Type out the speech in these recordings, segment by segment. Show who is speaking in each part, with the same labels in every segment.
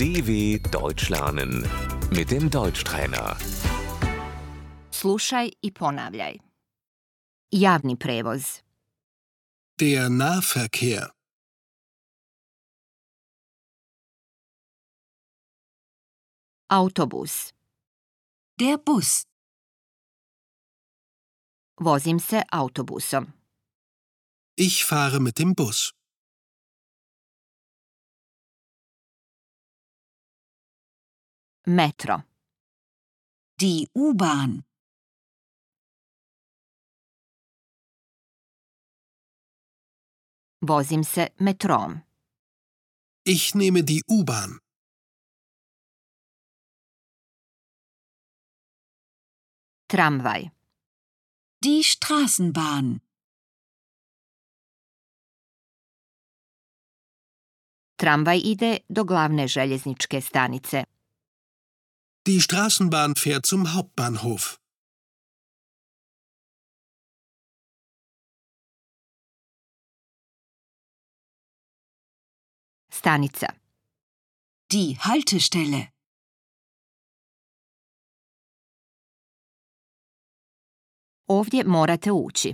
Speaker 1: DW Deutsch lernen mit dem Deutschtrainer.
Speaker 2: Slušaj i ponavljaj. Javni prevoz.
Speaker 3: Der Nahverkehr.
Speaker 2: Autobus.
Speaker 4: Der Bus.
Speaker 2: Vozim se autobusom.
Speaker 3: Ich fahre mit dem Bus.
Speaker 2: Metro.
Speaker 4: Die U-Bahn.
Speaker 2: Vozim se metrom.
Speaker 3: Ich nehme die U-Bahn.
Speaker 2: Tramvaj.
Speaker 4: Die Straßenbahn.
Speaker 2: Tramvaj ide do glavne željezničke stanice.
Speaker 3: Die Straßenbahn fährt zum Hauptbahnhof.
Speaker 2: Stanica.
Speaker 4: Die Haltestelle.
Speaker 2: Ovdje morate ući.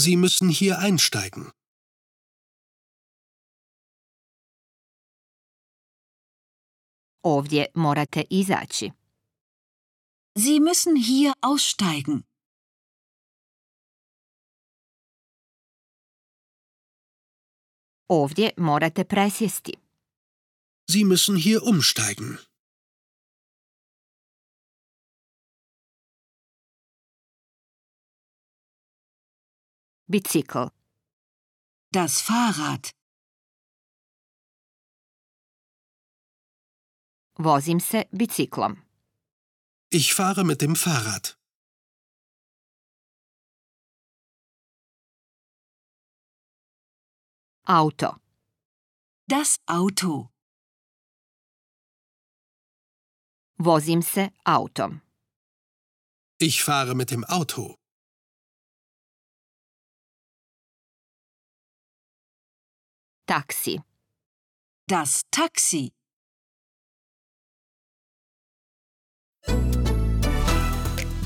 Speaker 3: Sie müssen hier einsteigen.
Speaker 2: Ovdje morate izaći.
Speaker 4: Sie müssen hier aussteigen.
Speaker 2: Ovdje morate presjesti.
Speaker 3: Sie müssen hier umsteigen.
Speaker 2: Bicikl.
Speaker 4: Das Fahrrad.
Speaker 2: Vozim se biciklom.
Speaker 3: Ich fahre mit dem Fahrrad.
Speaker 2: Auto.
Speaker 4: Das Auto.
Speaker 2: Vozim se autom.
Speaker 3: Ich fahre mit dem Auto.
Speaker 2: Taksi.
Speaker 4: Das Taxi.